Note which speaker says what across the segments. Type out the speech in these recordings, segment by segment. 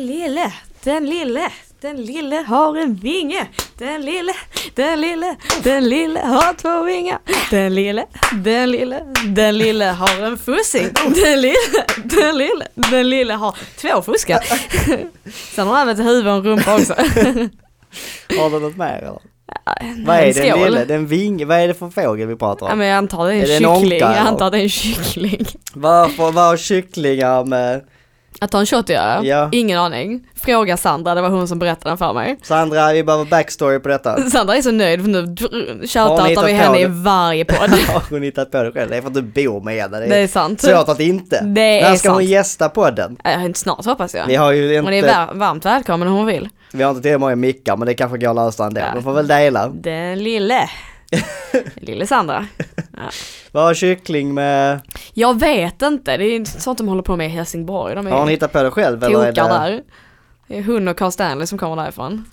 Speaker 1: lille, den lille, den lille har en vinge. Den lille, den lille, den lille har två vingar. Den lille, den lille, den lille har en fussing. Den lille, den lille, den lille har två fuskar. Sen har han ett huvud och en rumpa också.
Speaker 2: Har du något mer eller?
Speaker 1: En
Speaker 2: Vad är den
Speaker 1: skål.
Speaker 2: lille? Den ving, vad är det för fågel vi pratar
Speaker 1: Ja,
Speaker 2: om?
Speaker 1: men jag antar det är en
Speaker 2: Är det en
Speaker 1: kyckling.
Speaker 2: onka,
Speaker 1: Jag
Speaker 2: eller?
Speaker 1: antar det är en kyckling.
Speaker 2: Varför, vad har kycklingar med?
Speaker 1: Att ta en shot att göra?
Speaker 2: Ja.
Speaker 1: Ingen aning. Fråga Sandra, det var hon som berättade den för mig.
Speaker 2: Sandra, vi behöver backstory på detta.
Speaker 1: Sandra är så nöjd för nu dr- shoutoutar
Speaker 2: hittat
Speaker 1: vi
Speaker 2: på
Speaker 1: henne i
Speaker 2: det?
Speaker 1: varje podd.
Speaker 2: Har hon hittat på det själv? Det är för att du bor med henne. Det är,
Speaker 1: Det är sant.
Speaker 2: svårt att inte.
Speaker 1: Det är
Speaker 2: När ska hon
Speaker 1: sant.
Speaker 2: gästa podden?
Speaker 1: Äh, Snart hoppas jag.
Speaker 2: Vi har ju
Speaker 1: Hon är
Speaker 2: inte,
Speaker 1: var- varmt välkommen om hon vill.
Speaker 2: vi har inte tillräckligt många mickar men det kanske går att lösa ändå.
Speaker 1: Ja.
Speaker 2: De får väl dela.
Speaker 1: Den lille. Lille Sandra.
Speaker 2: Vad har kyckling med?
Speaker 1: Jag vet inte, det är sånt de håller på med i Helsingborg. De
Speaker 2: Har hon
Speaker 1: är
Speaker 2: hittat på det själv eller är
Speaker 1: tokar
Speaker 2: det
Speaker 1: där. Det är hon och Carl Stanley som kommer därifrån.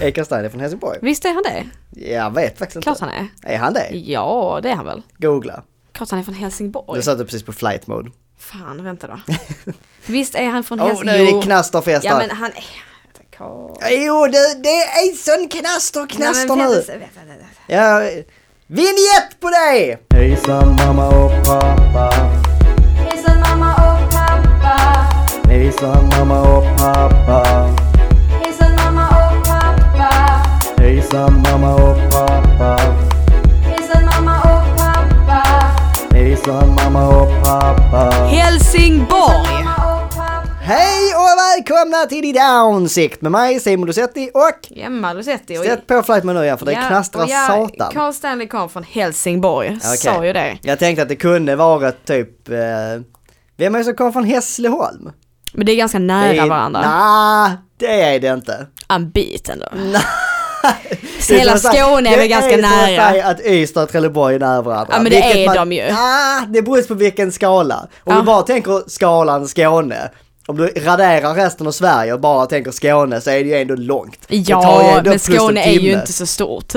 Speaker 2: Eka Stein är från Helsingborg?
Speaker 1: Visst är han det?
Speaker 2: Jag vet faktiskt inte.
Speaker 1: Klart han är.
Speaker 2: Är han det?
Speaker 1: Ja, det är han väl.
Speaker 2: Googla.
Speaker 1: Klart han är från Helsingborg.
Speaker 2: Du satte precis på flight mode.
Speaker 1: Fan, vänta då. Visst är han från
Speaker 2: Åh, nu
Speaker 1: Helsingborg?
Speaker 2: är det knasterfest
Speaker 1: Ja
Speaker 2: här.
Speaker 1: men han är... Karl.
Speaker 2: Jo, det, det är sån knaster, knaster
Speaker 1: Nej, men
Speaker 2: nu.
Speaker 1: vänta, vänta, vänta.
Speaker 2: Ja, vignett på dig! Hejsan mamma och pappa.
Speaker 3: Hejsan mamma och pappa.
Speaker 2: Hejsan mamma och pappa.
Speaker 3: Hejsan mamma och pappa.
Speaker 2: Hejsan mamma och pappa.
Speaker 3: Hejsan mamma och pappa.
Speaker 2: Hejsan mamma och pappa.
Speaker 1: Helsingborg!
Speaker 3: Mamma och pappa.
Speaker 2: Hej och välkomna till Ditt Ansikt med mig Simon Dosetti och
Speaker 1: Gemma Lucetti och...
Speaker 2: Sätt på flight mode nu igen för det knastrar
Speaker 1: och ja,
Speaker 2: satan.
Speaker 1: Carl Stanley kom från Helsingborg,
Speaker 2: Okej.
Speaker 1: sa ju det.
Speaker 2: Jag tänkte att det kunde vara typ, eh, vem är det som kommer från Hässleholm?
Speaker 1: Men det är ganska nära
Speaker 2: Det är-
Speaker 1: varandra.
Speaker 2: Nej, det är det inte.
Speaker 1: En bit ändå. Så
Speaker 2: Det är
Speaker 1: hela
Speaker 2: som att säga-
Speaker 1: Skåne är väl ganska
Speaker 2: Det är som att
Speaker 1: nära.
Speaker 2: säga att Ystad och Trelleborg är nära varandra.
Speaker 1: Ja, men det
Speaker 2: Vilket
Speaker 1: är de ju.
Speaker 2: Ah, det beror på vilken skala. Om
Speaker 1: Ja.
Speaker 2: du bara tänker skalan Skåne. Om du raderar resten av Sverige och bara tänker Skåne så är det ju ändå långt. Det tar ju
Speaker 1: Ja,
Speaker 2: ändå
Speaker 1: men
Speaker 2: plus en
Speaker 1: Skåne är ju
Speaker 2: timme.
Speaker 1: inte så stort.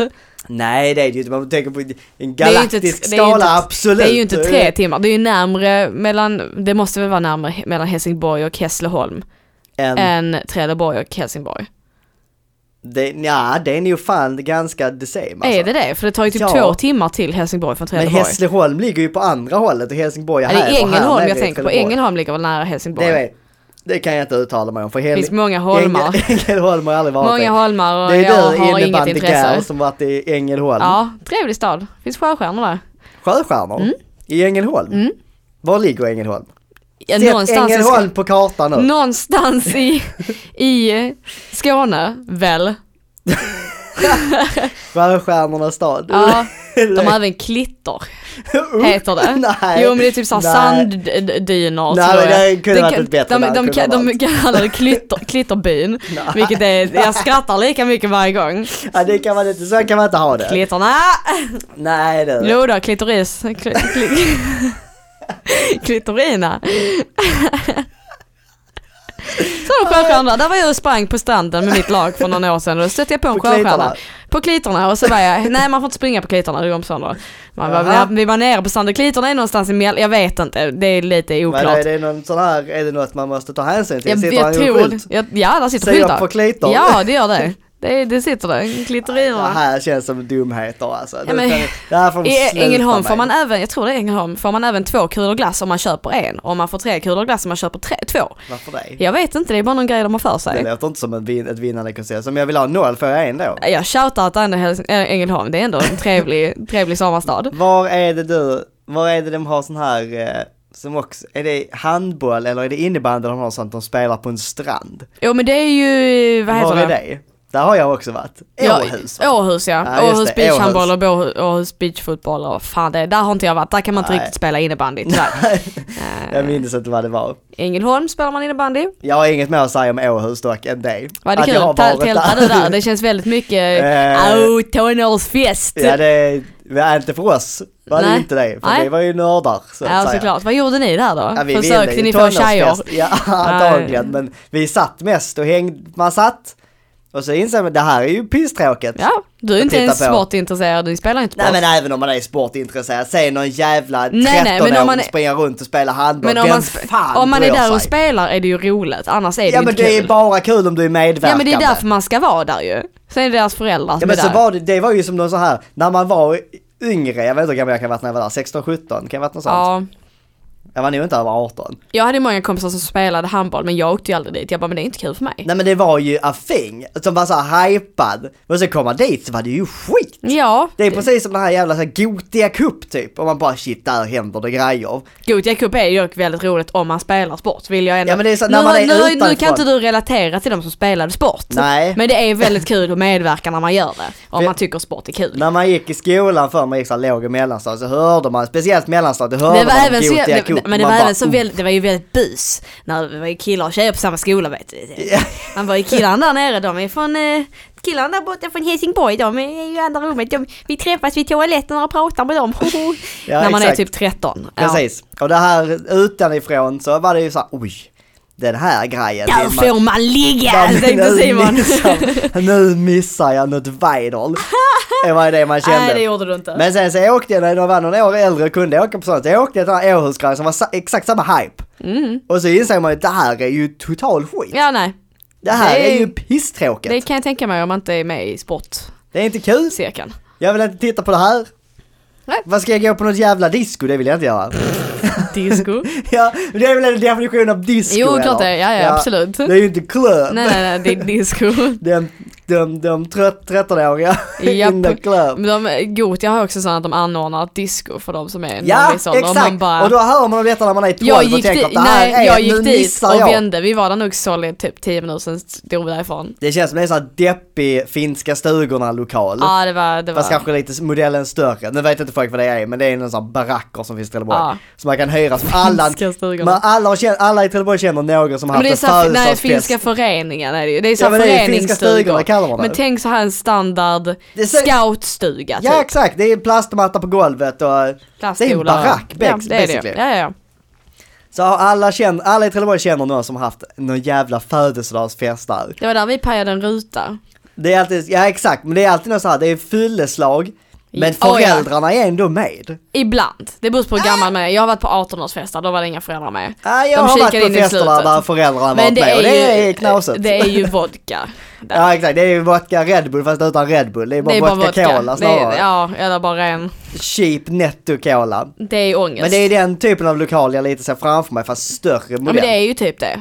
Speaker 2: Nej det är det ju inte, man tänker på en
Speaker 1: Det är ju inte-
Speaker 2: galaktisk
Speaker 1: det är ju
Speaker 2: skala,
Speaker 1: inte-
Speaker 2: absolut.
Speaker 1: Det är ju inte tre timmar, det är ju närmre mellan, det måste väl vara närmare he- mellan Helsingborg och Hässleholm
Speaker 2: En,
Speaker 1: än Trelleborg och Helsingborg.
Speaker 2: det, ja, det är nog fan ganska the same alltså.
Speaker 1: Är det det? För det tar ju typ
Speaker 2: Ja.
Speaker 1: två timmar till Helsingborg från
Speaker 2: Men
Speaker 1: Trelleborg.
Speaker 2: Hässleholm ligger ju på andra hållet och Helsingborg är
Speaker 1: Ja, det
Speaker 2: här
Speaker 1: är
Speaker 2: och här
Speaker 1: Ängelholm
Speaker 2: nere
Speaker 1: jag
Speaker 2: i
Speaker 1: tänker på.
Speaker 2: Trelleborg.
Speaker 1: Ängelholm ligger väl nära Helsingborg.
Speaker 2: Det,
Speaker 1: Det
Speaker 2: vet, det kan jag inte uttala mig om för Hel-
Speaker 1: finns många holmar.
Speaker 2: Ängel- Ängelholm har aldrig varit
Speaker 1: Många
Speaker 2: där.
Speaker 1: holmar och
Speaker 2: Det
Speaker 1: jag
Speaker 2: är
Speaker 1: har
Speaker 2: du
Speaker 1: inget
Speaker 2: innebandygirl
Speaker 1: intresse.
Speaker 2: som varit i Ängelholm.
Speaker 1: Ja, Mm. trevlig stad. Finns sjöstjärnor där.
Speaker 2: Sjöstjärnor? I Ängelholm? Var ligger Ängelholm?
Speaker 1: Mm. Ja,
Speaker 2: Sätt
Speaker 1: någonstans, i,
Speaker 2: Ängelholm
Speaker 1: Sk-
Speaker 2: på kartan nu.
Speaker 1: någonstans i, i eh, Skåne, väl?
Speaker 2: Sjöstjärnornas stad.
Speaker 1: Ja, de har även klitter, heter det.
Speaker 2: Nej.
Speaker 1: Jo men det är typ såhär
Speaker 2: Nej.
Speaker 1: sanddyner
Speaker 2: Nej,
Speaker 1: tror jag.
Speaker 2: men det kunde varit
Speaker 1: kan-
Speaker 2: ett bättre
Speaker 1: de,
Speaker 2: namn,
Speaker 1: de,
Speaker 2: kunde
Speaker 1: kan-
Speaker 2: varit.
Speaker 1: de kallar det klitter, klitterbyn, vilket är, jag skrattar lika mycket varje gång.
Speaker 2: Ja, det kan man inte, så kan man inte ha det.
Speaker 1: Klitterna!
Speaker 2: Nej du.
Speaker 1: Jo då, klitoris. Kli, kli, klitorina. Så sjöstjärnorna, där var jag och sprang på stranden med mitt lag för några år sedan och då stötte jag på en
Speaker 2: På
Speaker 1: sjöstjärna.
Speaker 2: klitorna?
Speaker 1: På klitorna och så var jag, nej man får inte springa på klitorna, det går inte sönder. Man var,
Speaker 2: Jaha.
Speaker 1: vi var nere på stranden, klitorna är någonstans emellan, jag vet inte, det är lite
Speaker 2: Men är
Speaker 1: oklart.
Speaker 2: det någon sån här, är det något man måste ta hänsyn till?
Speaker 1: Jag,
Speaker 2: Sitter
Speaker 1: jag
Speaker 2: han i en
Speaker 1: tror,
Speaker 2: skylt?
Speaker 1: jag, ja där sitter
Speaker 2: Säger jag
Speaker 1: skyltar.
Speaker 2: på klitor?
Speaker 1: Ja det gör det. Det, det sitter där,
Speaker 2: Det
Speaker 1: klitorinerna.
Speaker 2: här känns som dumheter alltså.
Speaker 1: Ja, men-
Speaker 2: det, det här får de
Speaker 1: I
Speaker 2: sluta
Speaker 1: Ängelholm
Speaker 2: med.
Speaker 1: får man även, jag tror det är Ängelholm, får man även två kulor glass om man köper en. Och man får tre kulor glass om man köper tre, två.
Speaker 2: Varför det?
Speaker 1: Jag vet inte, det är bara någon grej de har för sig.
Speaker 2: Det låter inte som en vin, ett vinnande koncept. Som jag vill ha noll får jag en då.
Speaker 1: Jag shoutar att ändå Hels- äh, Ängelholm, det är ändå en trevlig, trevlig sommarstad.
Speaker 2: Var är det du, var är det de har sån här, eh, som också, är det handboll eller är det innebandy de har sånt de spelar på en strand?
Speaker 1: Jo men det är ju, vad heter
Speaker 2: var
Speaker 1: det?
Speaker 2: är det? Där har jag också varit.
Speaker 1: Ja,
Speaker 2: Åhus. va?
Speaker 1: Åhus ja,
Speaker 2: Ja, just
Speaker 1: Åhus
Speaker 2: det,
Speaker 1: beachhandboll och
Speaker 2: Åhus.
Speaker 1: Båhus- Åhus beachfotboll och fan det, där har inte jag varit, där kan man inte
Speaker 2: Nej.
Speaker 1: riktigt spela innebandy tyvärr. Eh,
Speaker 2: Jag minns inte vad det var.
Speaker 1: Ängelholm spelar man innebandy.
Speaker 2: Jag har inget mer att säga om Åhus dock än dig.
Speaker 1: Var det
Speaker 2: Att
Speaker 1: kul?
Speaker 2: jag har
Speaker 1: Täl-
Speaker 2: varit
Speaker 1: Tältade du där? Det känns väldigt mycket,
Speaker 2: Eh.
Speaker 1: oh tonårsfest.
Speaker 2: Ja det, är inte för oss var det
Speaker 1: Nej.
Speaker 2: inte det, för
Speaker 1: Nej.
Speaker 2: vi var ju nördar så att
Speaker 1: Ja
Speaker 2: säga.
Speaker 1: såklart, vad gjorde ni där då?
Speaker 2: Ja, vi
Speaker 1: Försökte
Speaker 2: ville ju
Speaker 1: ni få
Speaker 2: tonårsfest.
Speaker 1: tjejer?
Speaker 2: Ja antagligen, men vi satt mest och hängde, man satt och så insåg man det här är ju pisstråkigt.
Speaker 1: Ja, Du är inte
Speaker 2: titta
Speaker 1: ens
Speaker 2: på.
Speaker 1: sportintresserad, du spelar inte
Speaker 2: Nej
Speaker 1: sport.
Speaker 2: men äh, även om man är sportintresserad, säg någon jävla
Speaker 1: Nej, nej, men om man
Speaker 2: 13-åring
Speaker 1: är-
Speaker 2: springa runt och spela handboll,
Speaker 1: Men om
Speaker 2: vem
Speaker 1: man, sp-
Speaker 2: fan
Speaker 1: om man är
Speaker 2: bryr
Speaker 1: där och
Speaker 2: sig?
Speaker 1: spelar är det ju roligt, annars är det
Speaker 2: Ja
Speaker 1: ju
Speaker 2: men
Speaker 1: inte
Speaker 2: det är
Speaker 1: kul.
Speaker 2: bara kul om du är medverkande.
Speaker 1: Ja men det är därför man ska vara där ju. Sen är det deras föräldrar
Speaker 2: Ja
Speaker 1: som
Speaker 2: men
Speaker 1: är
Speaker 2: så
Speaker 1: där.
Speaker 2: var det, det var ju som någon så här, när man var yngre, jag vet inte hur gammal jag kan ha varit när jag var där, 16, 17, kan jag ha varit något sånt?
Speaker 1: ja,
Speaker 2: Jag var nog inte över 18.
Speaker 1: jag hade många kompisar som spelade handboll men jag åkte ju aldrig dit. Jag bara, men det är inte kul för mig.
Speaker 2: Nej men det var ju a thing, som var såhär hypad, men så kom man dit så var det ju skit.
Speaker 1: Ja,
Speaker 2: Det är precis som den här jävla så här, Gothia Cup typ, och man bara shit där händer det grejer.
Speaker 1: Gothia Cup är ju väldigt roligt om man spelar sport vill jag ändå.
Speaker 2: Ja, men det är så- när
Speaker 1: nu,
Speaker 2: man är
Speaker 1: nu, nu
Speaker 2: utanför.
Speaker 1: kan inte du relatera till de som spelade sport.
Speaker 2: Nej.
Speaker 1: Men det är väldigt kul att medverka när man gör det. Om
Speaker 2: Vi-
Speaker 1: man tycker sport är kul.
Speaker 2: När man gick i skolan för man gick såhär låg och mellanstadiet så hörde man, speciellt mellanstadiet, då hörde
Speaker 1: Det var
Speaker 2: man
Speaker 1: även så,
Speaker 2: Gothia
Speaker 1: det,
Speaker 2: Cup.
Speaker 1: men det
Speaker 2: Man
Speaker 1: var
Speaker 2: bara,
Speaker 1: även så
Speaker 2: "Oh."
Speaker 1: väldigt, det var ju väldigt bus när det var ju killar och tjejer på samma skola vet du.
Speaker 2: Ja.
Speaker 1: Man bara, killarna där nere de är från, eh, killarna där borta från Helsingborg de är ju i andra rummet. De, vi träffas vid toaletten och pratar med dem.
Speaker 2: Ja,
Speaker 1: när man
Speaker 2: exakt.
Speaker 1: är typ 13. Ja.
Speaker 2: "Oh, Precis, och det här utanifrån så var det ju såhär oj, den här grejen
Speaker 1: Där
Speaker 2: vill man- liksom.
Speaker 1: får man ligga,
Speaker 2: Ja, men
Speaker 1: tänkte
Speaker 2: nu
Speaker 1: Simon.
Speaker 2: Missar, nu missar jag något vital. Det var det man kände.
Speaker 1: Nej det gjorde du inte.
Speaker 2: men sen så åkte jag när jag var några år äldre och kunde åka på sånt. Jag åkte till den här Åhusgrejen som var sa- exakt samma hype. Och så insåg man ju att det här är ju total skit.
Speaker 1: Mm. Ja nej,
Speaker 2: det här
Speaker 1: det
Speaker 2: är,
Speaker 1: är-
Speaker 2: ju pisstråkigt.
Speaker 1: det
Speaker 2: Det...
Speaker 1: kan jag tänka mig om man inte är med i sportcirkeln.
Speaker 2: är inte kul. Jag vill inte titta på det här.
Speaker 1: Nej. Mm.
Speaker 2: Vad ska jag gå på något jävla disco? Det vill jag inte göra.
Speaker 1: Disco.
Speaker 2: ja, det är väl en definition av disco
Speaker 1: Jo, klart
Speaker 2: eller?
Speaker 1: det är. Ja, ja, absolut.
Speaker 2: Det är ju inte klubb.
Speaker 1: nej nej nej, det är disco.
Speaker 2: De, de, de trött- 13-åriga in the
Speaker 1: Japp. Mm.
Speaker 2: club.
Speaker 1: Men de, Gothia har också sådana att de anordnar ett disco för de som är i en
Speaker 2: Ja,
Speaker 1: viss ålder. Och
Speaker 2: exakt!
Speaker 1: man bara,
Speaker 2: och då hör man om detta när man är 12
Speaker 1: jag gick,
Speaker 2: och tänker att
Speaker 1: di-
Speaker 2: det här
Speaker 1: nej,
Speaker 2: är,
Speaker 1: jag gick
Speaker 2: nu
Speaker 1: dit
Speaker 2: missar
Speaker 1: och
Speaker 2: jag.
Speaker 1: vände. Vi var där nog solid typ 10 minuter sen drog vi därifrån.
Speaker 2: Det känns som en sån här deppig finska stugorna lokal.
Speaker 1: Ja det var, det var.
Speaker 2: Fast kanske lite s- modellen större. Nu vet inte folk vad det är men det är någon sån här baracker som finns i Trelleborg.
Speaker 1: Ja.
Speaker 2: Som man kan hyra som alla,
Speaker 1: Finska stugorna.
Speaker 2: men alla, har känt, alla i Trelleborg känner någon som har
Speaker 1: men det är
Speaker 2: haft
Speaker 1: så
Speaker 2: en
Speaker 1: här, nej,
Speaker 2: födelsedagsfest.
Speaker 1: finska föreningen är det ju. Det är så
Speaker 2: Ja,
Speaker 1: här
Speaker 2: men det är finska stugor,
Speaker 1: föreningsstugor.
Speaker 2: det kallar man det.
Speaker 1: men tänk så här en standard
Speaker 2: Det ser-
Speaker 1: scoutstuga
Speaker 2: Ja
Speaker 1: typ.
Speaker 2: exakt, det är plastmatta på golvet och det är en
Speaker 1: Plastskola.
Speaker 2: barack
Speaker 1: ja,
Speaker 2: bex-
Speaker 1: det är
Speaker 2: basically.
Speaker 1: det. Ja, ja, ja.
Speaker 2: Så alla, känner, alla i Trelleborg känner någon som har haft någon jävla födelsedagsfest där.
Speaker 1: det var där vi pajade en ruta.
Speaker 2: Det är alltid, ja exakt, men det är alltid något så här, det är fylleslag, men
Speaker 1: Ja, ja.
Speaker 2: föräldrarna är ändå med.
Speaker 1: Ibland. Det beror
Speaker 2: Ah!
Speaker 1: på hur gammal man är. Jag har varit på 18-årsfester, då var det inga föräldrar med.
Speaker 2: Ja, jag
Speaker 1: De
Speaker 2: har
Speaker 1: kikar
Speaker 2: varit på
Speaker 1: in i
Speaker 2: festerna
Speaker 1: slutet.
Speaker 2: där föräldrarna varit med och det är knasigt.
Speaker 1: Det är ju vodka.
Speaker 2: Ja exakt, det är ju vodka Red Bull fast utan Red Bull, det är bara, vodka, cola
Speaker 1: Det är,
Speaker 2: snarare.
Speaker 1: ja, eller bara en.
Speaker 2: Cheap netto cola.
Speaker 1: Det är ångest.
Speaker 2: Men det är den typen av lokal jag lite ser framför mig fast större
Speaker 1: ja,
Speaker 2: modell.
Speaker 1: men det är ju typ det.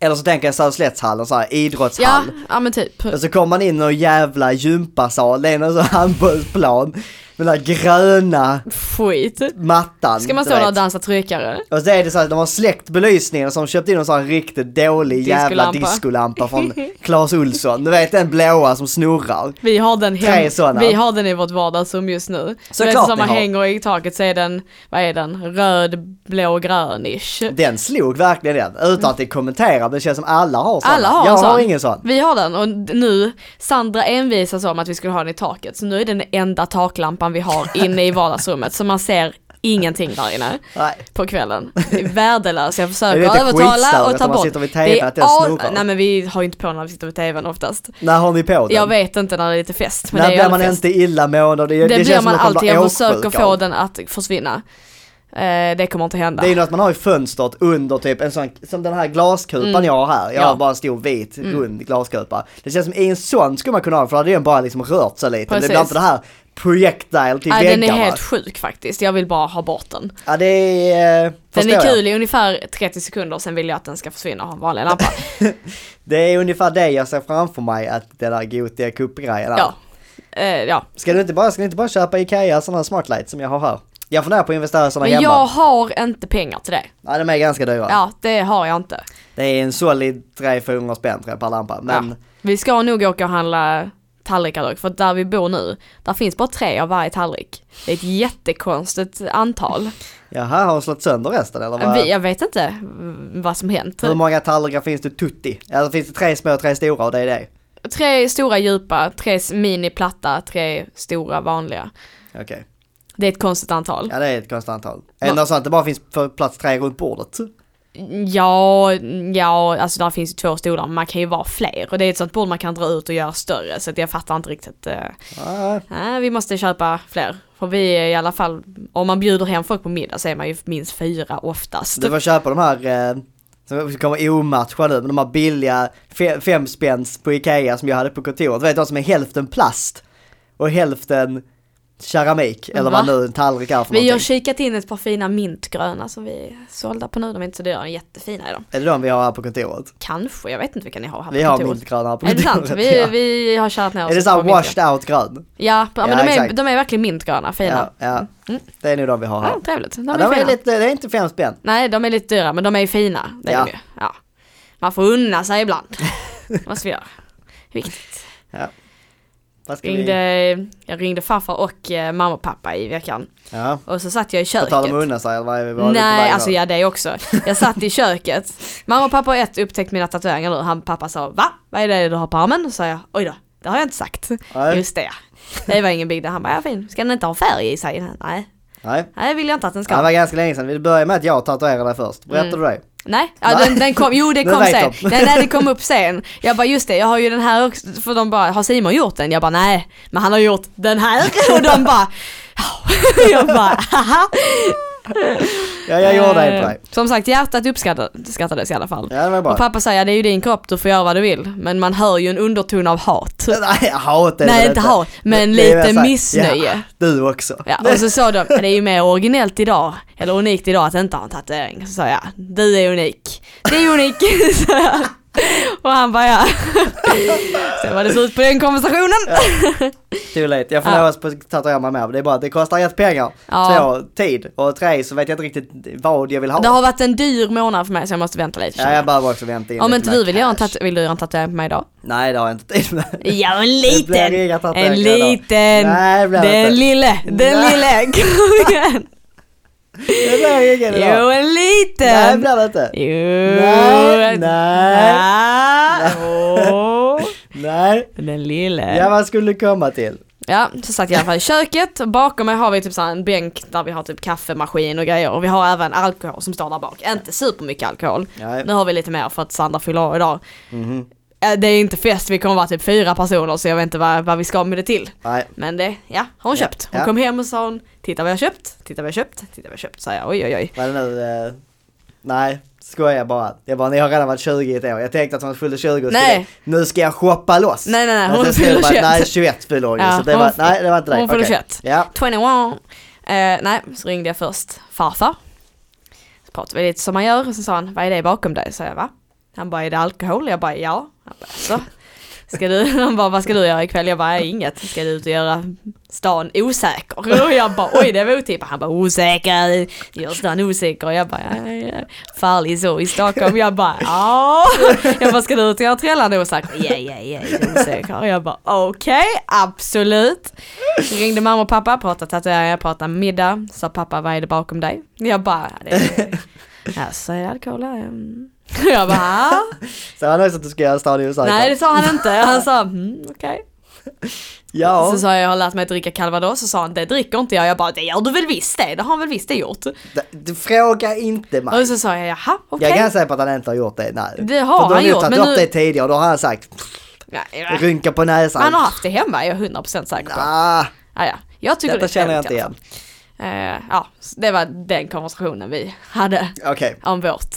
Speaker 2: Eller så tänker jag Söderslättshallen, så här
Speaker 1: Ja,
Speaker 2: idrottshall.
Speaker 1: ja men typ.
Speaker 2: Och så kommer man in i någon jävla gympasal, det är någon sån handbollsplan med den där gröna
Speaker 1: Skit.
Speaker 2: mattan.
Speaker 1: Ska man
Speaker 2: du
Speaker 1: stå där och
Speaker 2: vet.
Speaker 1: dansa tryckare?
Speaker 2: Och så är det så att de har släckt belysningen och så har de köpt in en sån här riktigt dålig jävla
Speaker 1: Diskolampa.
Speaker 2: diskolampa från Clas Olsson. Du vet den blåa som snurrar.
Speaker 1: Vi har den,
Speaker 2: Tre
Speaker 1: hem,
Speaker 2: sådana.
Speaker 1: vi har den i vårt vardagsrum just nu.
Speaker 2: Såklart
Speaker 1: Men som
Speaker 2: ni
Speaker 1: man
Speaker 2: har.
Speaker 1: hänger i taket så är den, vad är den, röd, blå, grön-ish.
Speaker 2: Den slog verkligen den, utan att det kommentera, men det känns som alla har sån.
Speaker 1: Alla har
Speaker 2: Jag
Speaker 1: en sån.
Speaker 2: har ingen sån.
Speaker 1: Vi har den och nu, Sandra envisas om att vi skulle ha den i taket, så nu är den enda taklampan vi har inne i vardagsrummet, så man ser ingenting där inne.
Speaker 2: Nej.
Speaker 1: på kvällen. Det är värdelös, jag
Speaker 2: Är typ det
Speaker 1: försöker
Speaker 2: inte
Speaker 1: övertala
Speaker 2: skitstörigt
Speaker 1: och ta
Speaker 2: om man
Speaker 1: bort.
Speaker 2: sitter vid TVn att den
Speaker 1: all-
Speaker 2: snurrar?
Speaker 1: Nej men vi har ju inte på när vi sitter vid tvn oftast.
Speaker 2: När har ni på den?
Speaker 1: Jag vet inte när det är lite fest men
Speaker 2: När
Speaker 1: det är
Speaker 2: blir man
Speaker 1: ju fest.
Speaker 2: inte illamående? och Det,
Speaker 1: Det,
Speaker 2: det känns
Speaker 1: blir
Speaker 2: som
Speaker 1: man
Speaker 2: att kommer
Speaker 1: alltid, jag
Speaker 2: bli
Speaker 1: försöker
Speaker 2: åksjuk
Speaker 1: få
Speaker 2: av.
Speaker 1: den att försvinna. Eh, det kommer inte hända.
Speaker 2: Det är ju något man har i fönstret under typ en sån, som den här glaskupan jag har här. Jag
Speaker 1: Mm. Ja. Mm.
Speaker 2: har bara en stor vit rund glaskupa. Det känns som i en sån skulle man kunna ha den för då hade den bara liksom rört sig lite. Det
Speaker 1: Precis.
Speaker 2: blir inte det här projectile till
Speaker 1: Nej, den
Speaker 2: väggarna.
Speaker 1: är helt sjuk faktiskt, jag vill bara ha bort den.
Speaker 2: Ja det är, eh,
Speaker 1: Den
Speaker 2: förstår
Speaker 1: är
Speaker 2: jag.
Speaker 1: kul i ungefär 30 sekunder, sen vill jag att den ska försvinna och ha en vanlig lampa.
Speaker 2: Det är ungefär det jag ser framför mig att den där Gothia Cup-grejen är.
Speaker 1: ja. Eh, ja.
Speaker 2: Ska du inte bara, ska du inte bara köpa Ikea sådana här smartlights som jag har här? Jag funderar på att investera i sådana
Speaker 1: Men
Speaker 2: hemma.
Speaker 1: jag har inte pengar till det.
Speaker 2: Ja de är ganska dyra.
Speaker 1: Ja, det har jag inte.
Speaker 2: Det är en solid 300-400 spänn tror jag per lampa. Men
Speaker 1: Ja. Vi ska nog åka och handla tallrikar dock, för där vi bor nu, där finns bara tre av varje tallrik. Det är ett jättekonstigt antal.
Speaker 2: jaha, har de slått sönder resten eller? Vad?
Speaker 1: Vi, jag vet inte mm, vad som hänt.
Speaker 2: Hur många tallrikar finns det tutti? Alltså finns det tre små och tre stora och det är det?
Speaker 1: Tre stora djupa, tre s- mini-platta, tre stora vanliga.
Speaker 2: Okej,
Speaker 1: Det är ett konstigt antal.
Speaker 2: ja det är ett konstant antal. Är det något sånt att det bara finns för plats tre runt bordet?
Speaker 1: Ja, ja, alltså där finns ju två stolar men man kan ju vara fler och det är ett sånt bord man kan dra ut och göra större så att jag fattar inte riktigt. Eh,
Speaker 2: Ja,
Speaker 1: nej, vi måste köpa fler. För vi är i alla fall, om man bjuder hem folk på middag så är man ju minst fyra oftast.
Speaker 2: du får köpa de här eh, som kommer omatchade men de här billiga fe- fem spänns på Ikea som jag hade på kontoret. Du vet de som är hälften plast och hälften keramik eller vad
Speaker 1: Va?
Speaker 2: nu en tallrik är för
Speaker 1: Vi har
Speaker 2: någonting.
Speaker 1: kikat in ett par fina mintgröna som vi är sålda på nu, de är inte så dyra, de är jättefina är de.
Speaker 2: Är det de vi har här på kontoret?
Speaker 1: Kanske, jag vet inte vilka ni har här
Speaker 2: Vi
Speaker 1: på
Speaker 2: har
Speaker 1: kontoret.
Speaker 2: mintgröna här på
Speaker 1: Är det
Speaker 2: kontoret.
Speaker 1: sant? Vi,
Speaker 2: ja.
Speaker 1: vi har kärat ner oss
Speaker 2: Är det
Speaker 1: på
Speaker 2: såhär
Speaker 1: mintgröna.
Speaker 2: washed out grön?
Speaker 1: Ja, ja, men
Speaker 2: Ja,
Speaker 1: de, är,
Speaker 2: exakt.
Speaker 1: de är verkligen mintgröna, fina.
Speaker 2: Ja, ja.
Speaker 1: Mm.
Speaker 2: Det är nog de vi har här.
Speaker 1: Ja, trevligt. De
Speaker 2: Ja,
Speaker 1: är
Speaker 2: de är
Speaker 1: fina.
Speaker 2: lite, det är inte fem spänn.
Speaker 1: Nej, de är lite dyra, men de är ju fina. Det är
Speaker 2: Ja.
Speaker 1: de ju. Ja. Man får unna sig ibland. Vad ska vi göra? Viktigt.
Speaker 2: Vad ska
Speaker 1: Ringde,
Speaker 2: vi...
Speaker 1: jag ringde farfar och eh, mamma och pappa i veckan.
Speaker 2: Ja.
Speaker 1: Och så satt jag i
Speaker 2: På
Speaker 1: köket.
Speaker 2: tal om att unna sig, eller vad är vi? vad är vi på väg
Speaker 1: Nej,
Speaker 2: då?
Speaker 1: alltså ja det också. Jag satt i köket. Mamma och pappa har ett upptäckt mina tatueringar nu. Han pappa sa va? Vad är det du har på armen? Och sa jag oj då, det har jag inte sagt.
Speaker 2: Nej.
Speaker 1: Just det ja. Det var ingen big deal. Han bara ja fin, ska den inte ha färg i sig? Nej,
Speaker 2: Nej.
Speaker 1: nej det vill jag inte att den ska. Mm.
Speaker 2: Ja, Det var ganska länge sedan, vi började med att jag tatuerade dig först, berättade du det?
Speaker 1: Nej, ja,
Speaker 2: Nej.
Speaker 1: den, den kom, jo det
Speaker 2: Den
Speaker 1: kom
Speaker 2: vet
Speaker 1: sen.
Speaker 2: de.
Speaker 1: Nej, nej, det kom upp sen. Jag bara just det, jag har ju den här också, för de bara, har Simon gjort den? Jag bara nej, men han har gjort den här. Och de bara, ja. Jag bara, haha.
Speaker 2: Ja, jag gjorde det på
Speaker 1: Eh,
Speaker 2: dig.
Speaker 1: Som sagt, hjärtat uppskattades i alla fall.
Speaker 2: Ja, det var bra.
Speaker 1: Och pappa säger, det är ju din kropp, du får göra vad du vill. Men man hör ju en underton av hat.
Speaker 2: Nej, hat är det
Speaker 1: Nej,
Speaker 2: väl
Speaker 1: inte hat, men
Speaker 2: Det- det är
Speaker 1: lite
Speaker 2: väl så här,
Speaker 1: missnöje.
Speaker 2: Ja, du också.
Speaker 1: Ja, och så sa de, det är ju mer originellt idag, eller unikt idag att inte ha en tatuering. Så sa jag, du är unik. Det är unik, sa jag. Och han bara ja. Sen var det slut på den konversationen.
Speaker 2: Too late. Jag får
Speaker 1: Ja.
Speaker 2: lov att tatuera mig med, det är bara att det kostar ett pengar,
Speaker 1: Ja.
Speaker 2: två tid och tre så vet jag inte riktigt vad jag vill ha.
Speaker 1: Det har varit en dyr månad för mig så jag måste vänta lite.
Speaker 2: Ja, jag behöver också vänta in
Speaker 1: Om
Speaker 2: lite
Speaker 1: inte
Speaker 2: mer
Speaker 1: du vill göra en
Speaker 2: cash.
Speaker 1: tatuering, vill du göra en tatuering på mig idag?
Speaker 2: Nej, det har jag inte tid med.
Speaker 1: Ja, en
Speaker 2: Det blir
Speaker 1: liten.
Speaker 2: inga tatueringar
Speaker 1: En
Speaker 2: idag.
Speaker 1: liten.
Speaker 2: Nej, det blir det
Speaker 1: Den
Speaker 2: inte.
Speaker 1: lille, den
Speaker 2: Nej.
Speaker 1: lille. Kom igen.
Speaker 2: Det blir ingen idag.
Speaker 1: Jo, en
Speaker 2: Nej, det
Speaker 1: liten.
Speaker 2: blir det inte.
Speaker 1: Jo.
Speaker 2: Nej, nej,
Speaker 1: Nej. Åh.
Speaker 2: Nej,
Speaker 1: Den lille.
Speaker 2: ja vad skulle du komma till?
Speaker 1: Ja, så satt jag i alla fall i köket. Bakom mig har vi typ så här en bänk där vi har typ kaffemaskin och grejer. Och vi har även alkohol som står där bak. Inte supermycket alkohol.
Speaker 2: Nej.
Speaker 1: Nu har vi lite mer för att Sandra fyller år idag.
Speaker 2: Mhm.
Speaker 1: Eh, Det är inte fest, vi kommer vara typ fyra personer så jag vet inte vad, vad vi ska med det till.
Speaker 2: Nej.
Speaker 1: Men det, ja, har hon köpt. Hon
Speaker 2: ja.
Speaker 1: kom hem och sa hon, titta vad jag har köpt, titta vad jag har köpt, titta vad jag har köpt. Så jag, oj oj oj.
Speaker 2: Vad är det nu? eh, Nej, skojar bara. Jag bara, ni har redan varit 20 i ett år. Jag tänkte att hon fyllde 20 och skulle,
Speaker 1: Nej.
Speaker 2: nu ska jag shoppa loss.
Speaker 1: Nej, nej, nej,
Speaker 2: Men
Speaker 1: hon
Speaker 2: sen skulle
Speaker 1: fyller
Speaker 2: jag bara,
Speaker 1: 21.
Speaker 2: Nej, 21 fyller hon ju,
Speaker 1: Ja,
Speaker 2: så det
Speaker 1: hon
Speaker 2: var,
Speaker 1: f-
Speaker 2: nej det var inte dig.
Speaker 1: hon fyller
Speaker 2: Okej.
Speaker 1: 21.
Speaker 2: Ja,
Speaker 1: 21. Eh, nej, så ringde jag först farfar. Så pratade vi lite som man gör och så sa han, vad är det bakom dig? Så jag, va? Han bara, är det alkohol? Jag bara, ja. Han bara, så. Ska du, han bara, vad ska du göra ikväll? Jag bara, inget. Ska du ut och göra stan osäker? Och jag bara, oj det var otippat. Han bara, osäker, gör stan osäker. Jag bara, ja, ja, ja. farlig så i Stockholm. Jag bara, ja. Jag bara, ska du ut och göra trällan osäker? Ja, ja, ja, osäker. Och jag bara, okej, absolut. Ringde mamma och pappa, pratade tatueringar, pratade middag. Sa pappa, vad är det bakom dig? Jag bara, det är, alltså, är det alkohol här? Mm. Jag bara, "Ah."
Speaker 2: så han också att du ska göra stadig osäker.
Speaker 1: nej det sa han inte. Han sa, mm, okej.
Speaker 2: Ja,
Speaker 1: Så sa jag, jag har lärt mig att dricka calvados. Så sa han, det dricker inte jag. Jag bara, det gör du väl visst det? Det har han väl visst det gjort.
Speaker 2: d- du frågar inte mig.
Speaker 1: Och så sa jag, jaha, okej.
Speaker 2: Jag kan säga på att han inte har gjort det, nej.
Speaker 1: Det har
Speaker 2: För du
Speaker 1: han
Speaker 2: nog
Speaker 1: gjort,
Speaker 2: tagit
Speaker 1: men
Speaker 2: upp
Speaker 1: nu-
Speaker 2: det tidigare, då har han sagt,
Speaker 1: Nej, nej.
Speaker 2: rynka på näsan.
Speaker 1: Han har haft det hemma, jag är 100% säker på.
Speaker 2: Ah,
Speaker 1: Ja, ja. Jag tycker det
Speaker 2: detta
Speaker 1: är
Speaker 2: känner jag
Speaker 1: trevligt
Speaker 2: inte
Speaker 1: i alla
Speaker 2: igen.
Speaker 1: fall. Eh, Ja, så det var den konversationen vi hade
Speaker 2: Okej,
Speaker 1: om vårt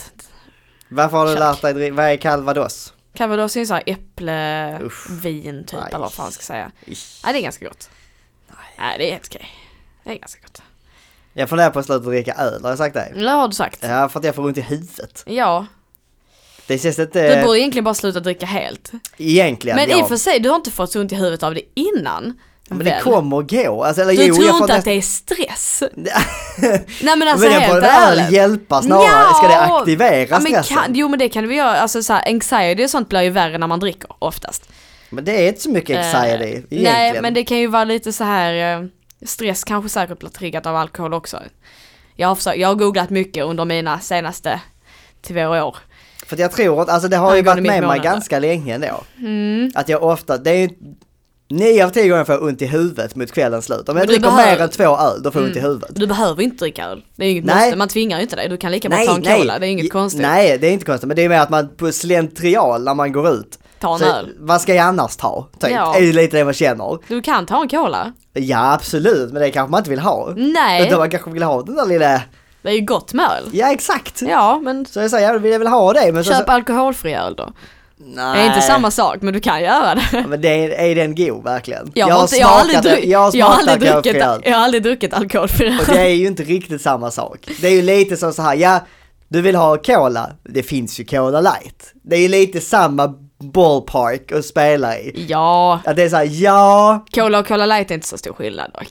Speaker 2: varför har du
Speaker 1: Kök.
Speaker 2: lärt dig, dri- vad är calvados?
Speaker 1: Calvados är ju såhär äpple,
Speaker 2: Usch.
Speaker 1: vin typ
Speaker 2: Aj.
Speaker 1: eller vad fan man ska säga.
Speaker 2: Ish.
Speaker 1: Nej det är ganska gott. Nej det är helt okej. Det är ganska gott.
Speaker 2: Jag funderar på att sluta dricka öl, har jag sagt det?
Speaker 1: Det har du sagt.
Speaker 2: Ja, för att jag får ont i huvudet.
Speaker 1: Ja,
Speaker 2: Det känns
Speaker 1: du
Speaker 2: inte...
Speaker 1: borde egentligen bara sluta dricka helt.
Speaker 2: Egentligen.
Speaker 1: Men i
Speaker 2: Eh. ja.
Speaker 1: och för sig, du har inte fått så ont i huvudet av det innan.
Speaker 2: Men det
Speaker 1: väl?
Speaker 2: kommer och gå. Alltså, eller,
Speaker 1: Du
Speaker 2: jo,
Speaker 1: tror
Speaker 2: jag får
Speaker 1: inte att
Speaker 2: nästan-
Speaker 1: det är stress? Nej men alltså
Speaker 2: men den
Speaker 1: helt
Speaker 2: borde väl
Speaker 1: ärligt.
Speaker 2: hjälpa snarare.
Speaker 1: Nja.
Speaker 2: Ska det aktivera
Speaker 1: Ja, men
Speaker 2: stressen?
Speaker 1: kan, jo men det kan vi göra, alltså så här, anxiety och sånt blir ju värre när man dricker oftast.
Speaker 2: Men det är inte så mycket anxiety
Speaker 1: Eh,
Speaker 2: egentligen.
Speaker 1: Nej men det kan ju vara lite så här eh, stress kanske säkert blir triggat av alkohol också. Jag har, försökt, jag har googlat mycket under mina senaste två år.
Speaker 2: För att jag tror att, alltså det har ju
Speaker 1: Angående Mm.
Speaker 2: varit
Speaker 1: mitt
Speaker 2: med mig
Speaker 1: mående.
Speaker 2: ganska länge ändå. Att jag ofta, det är ju, Nio av tio gånger får jag ont i huvudet mot kvällens slut. Om jag
Speaker 1: Men du
Speaker 2: dricker
Speaker 1: behöver- Mm.
Speaker 2: mer än två öl, då får jag ont i huvudet.
Speaker 1: Du behöver inte dricka öl. Det är inget
Speaker 2: Nej.
Speaker 1: måste, man tvingar ju inte dig. Du kan lika bra ta en cola, det är inget
Speaker 2: J-
Speaker 1: konstigt.
Speaker 2: Nej, det är inte konstigt. Men det är mer att man på slentrial när man går ut.
Speaker 1: Ta en
Speaker 2: så,
Speaker 1: öl.
Speaker 2: Vad ska jag annars ta? Typ.
Speaker 1: Ja.
Speaker 2: Det är ju lite det man känner.
Speaker 1: Du kan ta en cola.
Speaker 2: Ja, absolut. Men det kanske man inte vill ha.
Speaker 1: Nej,
Speaker 2: Utan man kanske vill ha den där lilla...
Speaker 1: det är ju gott med öl.
Speaker 2: Ja, exakt.
Speaker 1: Ja, men
Speaker 2: Så jag säger, jag vill jag väl ha det. Men så,
Speaker 1: köp
Speaker 2: så...
Speaker 1: alkoholfri öl då.
Speaker 2: Nej.
Speaker 1: Det är inte samma sak, men du kan göra det.
Speaker 2: Men det är, är den god verkligen?
Speaker 1: Jag har, inte, jag har, aldrig, druck, jag
Speaker 2: jag har smakat
Speaker 1: aldrig druckit,
Speaker 2: alkoholfri öl.
Speaker 1: jag har aldrig druckit alkoholfri öl.
Speaker 2: Och det är ju inte riktigt samma sak. Det är ju lite som så här, ja, du vill ha cola, det finns ju cola light. Det är ju lite samma ballpark att spela i.
Speaker 1: Ja,
Speaker 2: Att det är så här, ja,
Speaker 1: cola och cola light är inte så stor skillnad dock.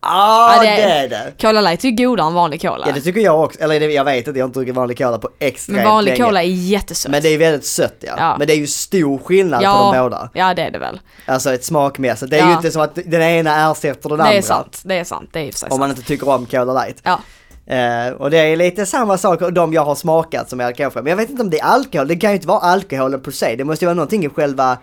Speaker 2: ah,
Speaker 1: Ja, det-
Speaker 2: det... är det.
Speaker 1: Cola light är ju godare än vanlig cola.
Speaker 2: Ja det tycker jag också, eller det- jag vet inte, jag har inte druckit vanlig cola på extremt
Speaker 1: men vanlig
Speaker 2: länge.
Speaker 1: cola är jättesött.
Speaker 2: Men det är ju väldigt sött ja.
Speaker 1: Ja.
Speaker 2: Men det är ju stor skillnad på de båda.
Speaker 1: ja, det är det väl.
Speaker 2: Alltså ett smakmässigt. Det är
Speaker 1: Ja.
Speaker 2: ju inte som att den ena ersätter den
Speaker 1: Det är
Speaker 2: andra.
Speaker 1: sant, det är sant, det är i och för sig
Speaker 2: Om
Speaker 1: sant.
Speaker 2: man inte tycker om Cola Light.
Speaker 1: Ja,
Speaker 2: Eh, och det är lite samma sak och de jag har smakat som är alkoholfria. Men jag vet inte om det är alkohol, det kan ju inte vara alkoholen på sig. Det måste ju vara någonting i själva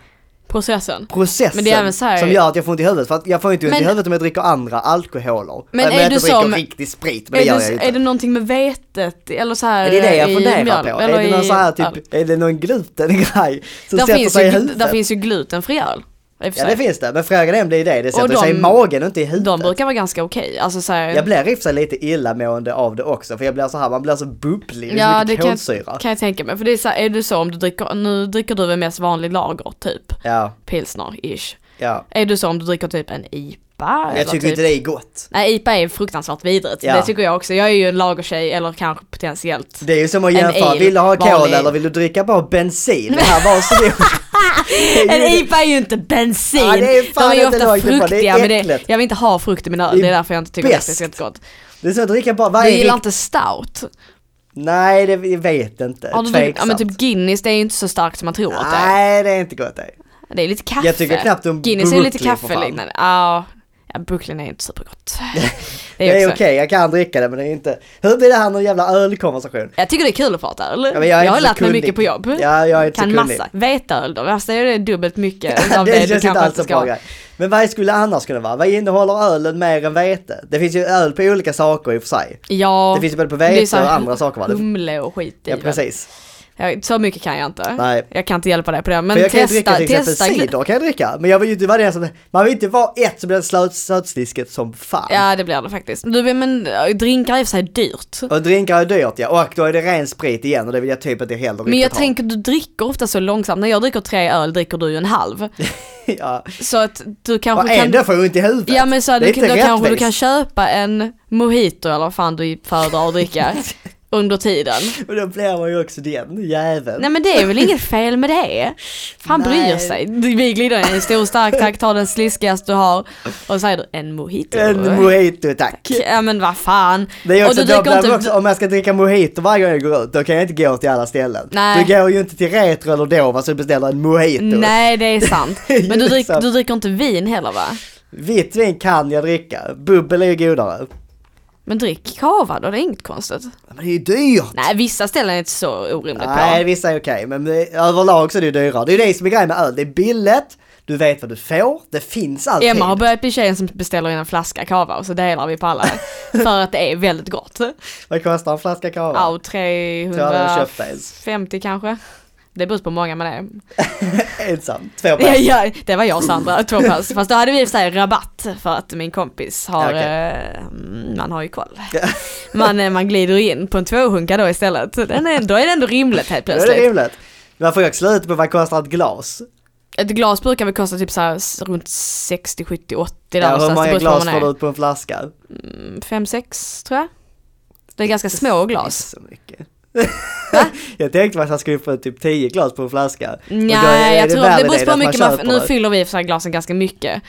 Speaker 1: processen.
Speaker 2: processen
Speaker 1: Men det är även så här-
Speaker 2: som gör att jag får ont i huvudet. För att jag får ju inte ont i
Speaker 1: Men-
Speaker 2: huvudet om jag dricker andra alkoholer.
Speaker 1: Men
Speaker 2: Även om
Speaker 1: är
Speaker 2: jag
Speaker 1: du
Speaker 2: inte dricker
Speaker 1: som-
Speaker 2: riktig sprit, men
Speaker 1: Är
Speaker 2: det gör jag
Speaker 1: det,
Speaker 2: ju
Speaker 1: är det
Speaker 2: inte.
Speaker 1: någonting med vetet eller så här
Speaker 2: Är det det jag
Speaker 1: Eh, i
Speaker 2: funderar
Speaker 1: mjölk,
Speaker 2: på?
Speaker 1: eller
Speaker 2: Är det någon
Speaker 1: i
Speaker 2: så här typ,
Speaker 1: öl?
Speaker 2: är det någon glutengrej som
Speaker 1: Där
Speaker 2: sätter
Speaker 1: finns,
Speaker 2: sig i
Speaker 1: ju,
Speaker 2: huvudet?
Speaker 1: där finns ju glutenfri öl. i och för
Speaker 2: Ja
Speaker 1: sig.
Speaker 2: det finns det, men frågan är om det är det, det sätter
Speaker 1: Och
Speaker 2: sig i
Speaker 1: de-
Speaker 2: magen och inte i
Speaker 1: De
Speaker 2: huvudet.
Speaker 1: brukar vara ganska okej. Alltså så här,
Speaker 2: Jag blir i och för sig lite illamående av det också, för jag blir så här, man blir så bubblig, det är
Speaker 1: ja,
Speaker 2: så
Speaker 1: det
Speaker 2: mycket
Speaker 1: kan,
Speaker 2: kolsyra.
Speaker 1: kan jag tänka mig. För det är, så här, är det så om du dricker, nu dricker du väl mest vanlig lager typ,
Speaker 2: Ja,
Speaker 1: pilsner-ish.
Speaker 2: ja.
Speaker 1: Är du så om du dricker typ en IPA? eller
Speaker 2: Jag tycker
Speaker 1: typ,
Speaker 2: inte det är gott.
Speaker 1: Nej IPA är fruktansvärt vidrigt,
Speaker 2: Ja.
Speaker 1: det tycker jag också. Jag är ju en lagertjej eller kanske potentiellt.
Speaker 2: Det är ju som att
Speaker 1: En
Speaker 2: jämföra,
Speaker 1: ale,
Speaker 2: vill du ha
Speaker 1: vanlig.
Speaker 2: cola eller vill du dricka bara bensin? Det här var så Det
Speaker 1: En
Speaker 2: är ju-
Speaker 1: IPA är ju inte bensin!
Speaker 2: Ja, det är fan
Speaker 1: De är ju
Speaker 2: inte
Speaker 1: ofta
Speaker 2: lagligt bra. Det är
Speaker 1: fruktiga men det,
Speaker 2: äckligt.
Speaker 1: jag vill inte ha frukt i min öl,
Speaker 2: Det är
Speaker 1: det är därför jag inte tycker att det är
Speaker 2: bäst.
Speaker 1: speciellt gott.
Speaker 2: Det är som att dricka bara, vad
Speaker 1: Du
Speaker 2: är
Speaker 1: gillar
Speaker 2: rikt...
Speaker 1: inte stout?
Speaker 2: Nej, det jag vet inte.
Speaker 1: Har du druckit- ja, men
Speaker 2: Tveksamt.
Speaker 1: typ Guinness, det är ju inte så starkt som man tror att det är.
Speaker 2: Nej, det är inte gott det.
Speaker 1: Det är lite kaffe.
Speaker 2: Jag tycker knappt om
Speaker 1: Guinness är ju lite
Speaker 2: Brooklyn, för fan.
Speaker 1: kaffeliknande. Ja, ja, Brooklyn är inte supergott.
Speaker 2: Det är okej,
Speaker 1: också-
Speaker 2: jag kan dricka det men det är inte... Hur blir det här någon jävla ölkonversation?
Speaker 1: Jag tycker det är kul att prata öl.
Speaker 2: Ja, men
Speaker 1: jag,
Speaker 2: är
Speaker 1: har
Speaker 2: inte så
Speaker 1: lärt mig
Speaker 2: kunnig.
Speaker 1: mycket på jobb.
Speaker 2: Ja, jag är inte
Speaker 1: kan
Speaker 2: så kunnig.
Speaker 1: massa. Veteöl då, alltså det är dubbelt mycket
Speaker 2: Ja,
Speaker 1: av
Speaker 2: det,
Speaker 1: det,
Speaker 2: det
Speaker 1: du
Speaker 2: känns inte
Speaker 1: kanske
Speaker 2: alls
Speaker 1: inte
Speaker 2: så
Speaker 1: ska
Speaker 2: bra
Speaker 1: ha.
Speaker 2: grej. Men vad skulle det annars kunna vara? Vad innehåller ölen mer än vete? Det finns ju öl på olika saker i och för sig.
Speaker 1: Ja,
Speaker 2: Det finns ju både på
Speaker 1: men det är
Speaker 2: vete
Speaker 1: så här
Speaker 2: och andra saker va? Det-
Speaker 1: humle och skit i
Speaker 2: Ja
Speaker 1: väl.
Speaker 2: precis.
Speaker 1: Jag, Så mycket kan jag inte.
Speaker 2: Nej.
Speaker 1: Jag kan inte hjälpa dig på det. Men
Speaker 2: För jag kan ju dricka
Speaker 1: testa,
Speaker 2: till exempel
Speaker 1: testa. gl-
Speaker 2: cider kan jag dricka. Men jag vill ju inte vara den som, man vill inte vara ett som blir slö- sötslisket som fan.
Speaker 1: Ja det blir det faktiskt. Du, men äh, drinkar är i och för sig dyrt.
Speaker 2: Och drinkar är dyrt ja, och då är det ren sprit igen och det vill jag typ inte heller
Speaker 1: Men jag
Speaker 2: riktigt ha.
Speaker 1: tänker du dricker ofta så långsamt. När jag dricker tre öl dricker du ju en halv.
Speaker 2: ja.
Speaker 1: Så att du kanske
Speaker 2: Och
Speaker 1: kan...
Speaker 2: ändå får jag ont i huvudet.
Speaker 1: Ja men så här,
Speaker 2: det
Speaker 1: du,
Speaker 2: är inte
Speaker 1: då kanske du
Speaker 2: rättvist.
Speaker 1: kan köpa en mojito eller vad fan du föredrar att dricka under tiden.
Speaker 2: Och då blir man ju också den jäveln.
Speaker 1: Nej men det är väl inget fel med det? Han
Speaker 2: Nej.
Speaker 1: bryr sig. Du- Vi glider in i en stor stark tack, tar den sliskigaste du har och säger du en mojito.
Speaker 2: En mojito tack.
Speaker 1: Ja men vad fan.
Speaker 2: Det är också,
Speaker 1: och
Speaker 2: då
Speaker 1: du dricker
Speaker 2: blir det
Speaker 1: inte...
Speaker 2: också, om jag ska dricka mojito varje gång jag går ut, då kan jag inte gå till alla ställen.
Speaker 1: Nej.
Speaker 2: Du går ju inte till Retro eller Dova så du beställer en mojito.
Speaker 1: Nej det är sant.
Speaker 2: Det är ju
Speaker 1: Men du, drick,
Speaker 2: sant.
Speaker 1: du dricker inte vin heller va?
Speaker 2: Vitt vin kan jag dricka, bubbel är ju godare.
Speaker 1: Men drick cava då, det är inget konstigt.
Speaker 2: Men det är ju dyrt!
Speaker 1: Nej vissa ställen är inte så orimligt
Speaker 2: Nej,
Speaker 1: bra.
Speaker 2: vissa är okej, men det- överlag så är det ju dyrare. Det är ju det som är grejen med öl, det är billigt, du vet vad du får, det finns alltid.
Speaker 1: Emma har börjat bli tjejen som beställer in en flaska cava och så delar vi på alla. för att det är väldigt gott.
Speaker 2: Vad kostar en flaska cava?
Speaker 1: Ja, och
Speaker 2: Tror jag hade köpt det ens.
Speaker 1: 350 kanske. Det beror på hur många man är.
Speaker 2: Ensam, två
Speaker 1: Ja,
Speaker 2: pers.
Speaker 1: ja, det var jag och Sandra, två pass. Fast då hade vi i och för sig rabatt för att min kompis har,
Speaker 2: Okej.
Speaker 1: eh, man har ju koll. Man, eh, man glider in på en tvåhunka då istället. Så Den är, då är det ändå rimligt helt
Speaker 2: Då är det
Speaker 1: plötsligt.
Speaker 2: rimligt. Man får ju också slut på vad kostar ett glas.
Speaker 1: Ett glas brukar väl kosta typ så här s- runt 60, 70, 80 där
Speaker 2: Ja, hur
Speaker 1: någonstans. Det
Speaker 2: många
Speaker 1: beror på
Speaker 2: glas
Speaker 1: vad man
Speaker 2: får du
Speaker 1: är.
Speaker 2: ut på en flaska?
Speaker 1: 5, 6 tror jag. Det är ganska små glas.
Speaker 2: Inte så mycket. jag tänkte att han skulle få typ 10 glas på en flaska. Och då är
Speaker 1: Nej, jag tror
Speaker 2: värre
Speaker 1: det beror på
Speaker 2: att
Speaker 1: hur mycket man,
Speaker 2: köper
Speaker 1: nu
Speaker 2: det.
Speaker 1: fyller vi i och för sig glasen ganska mycket.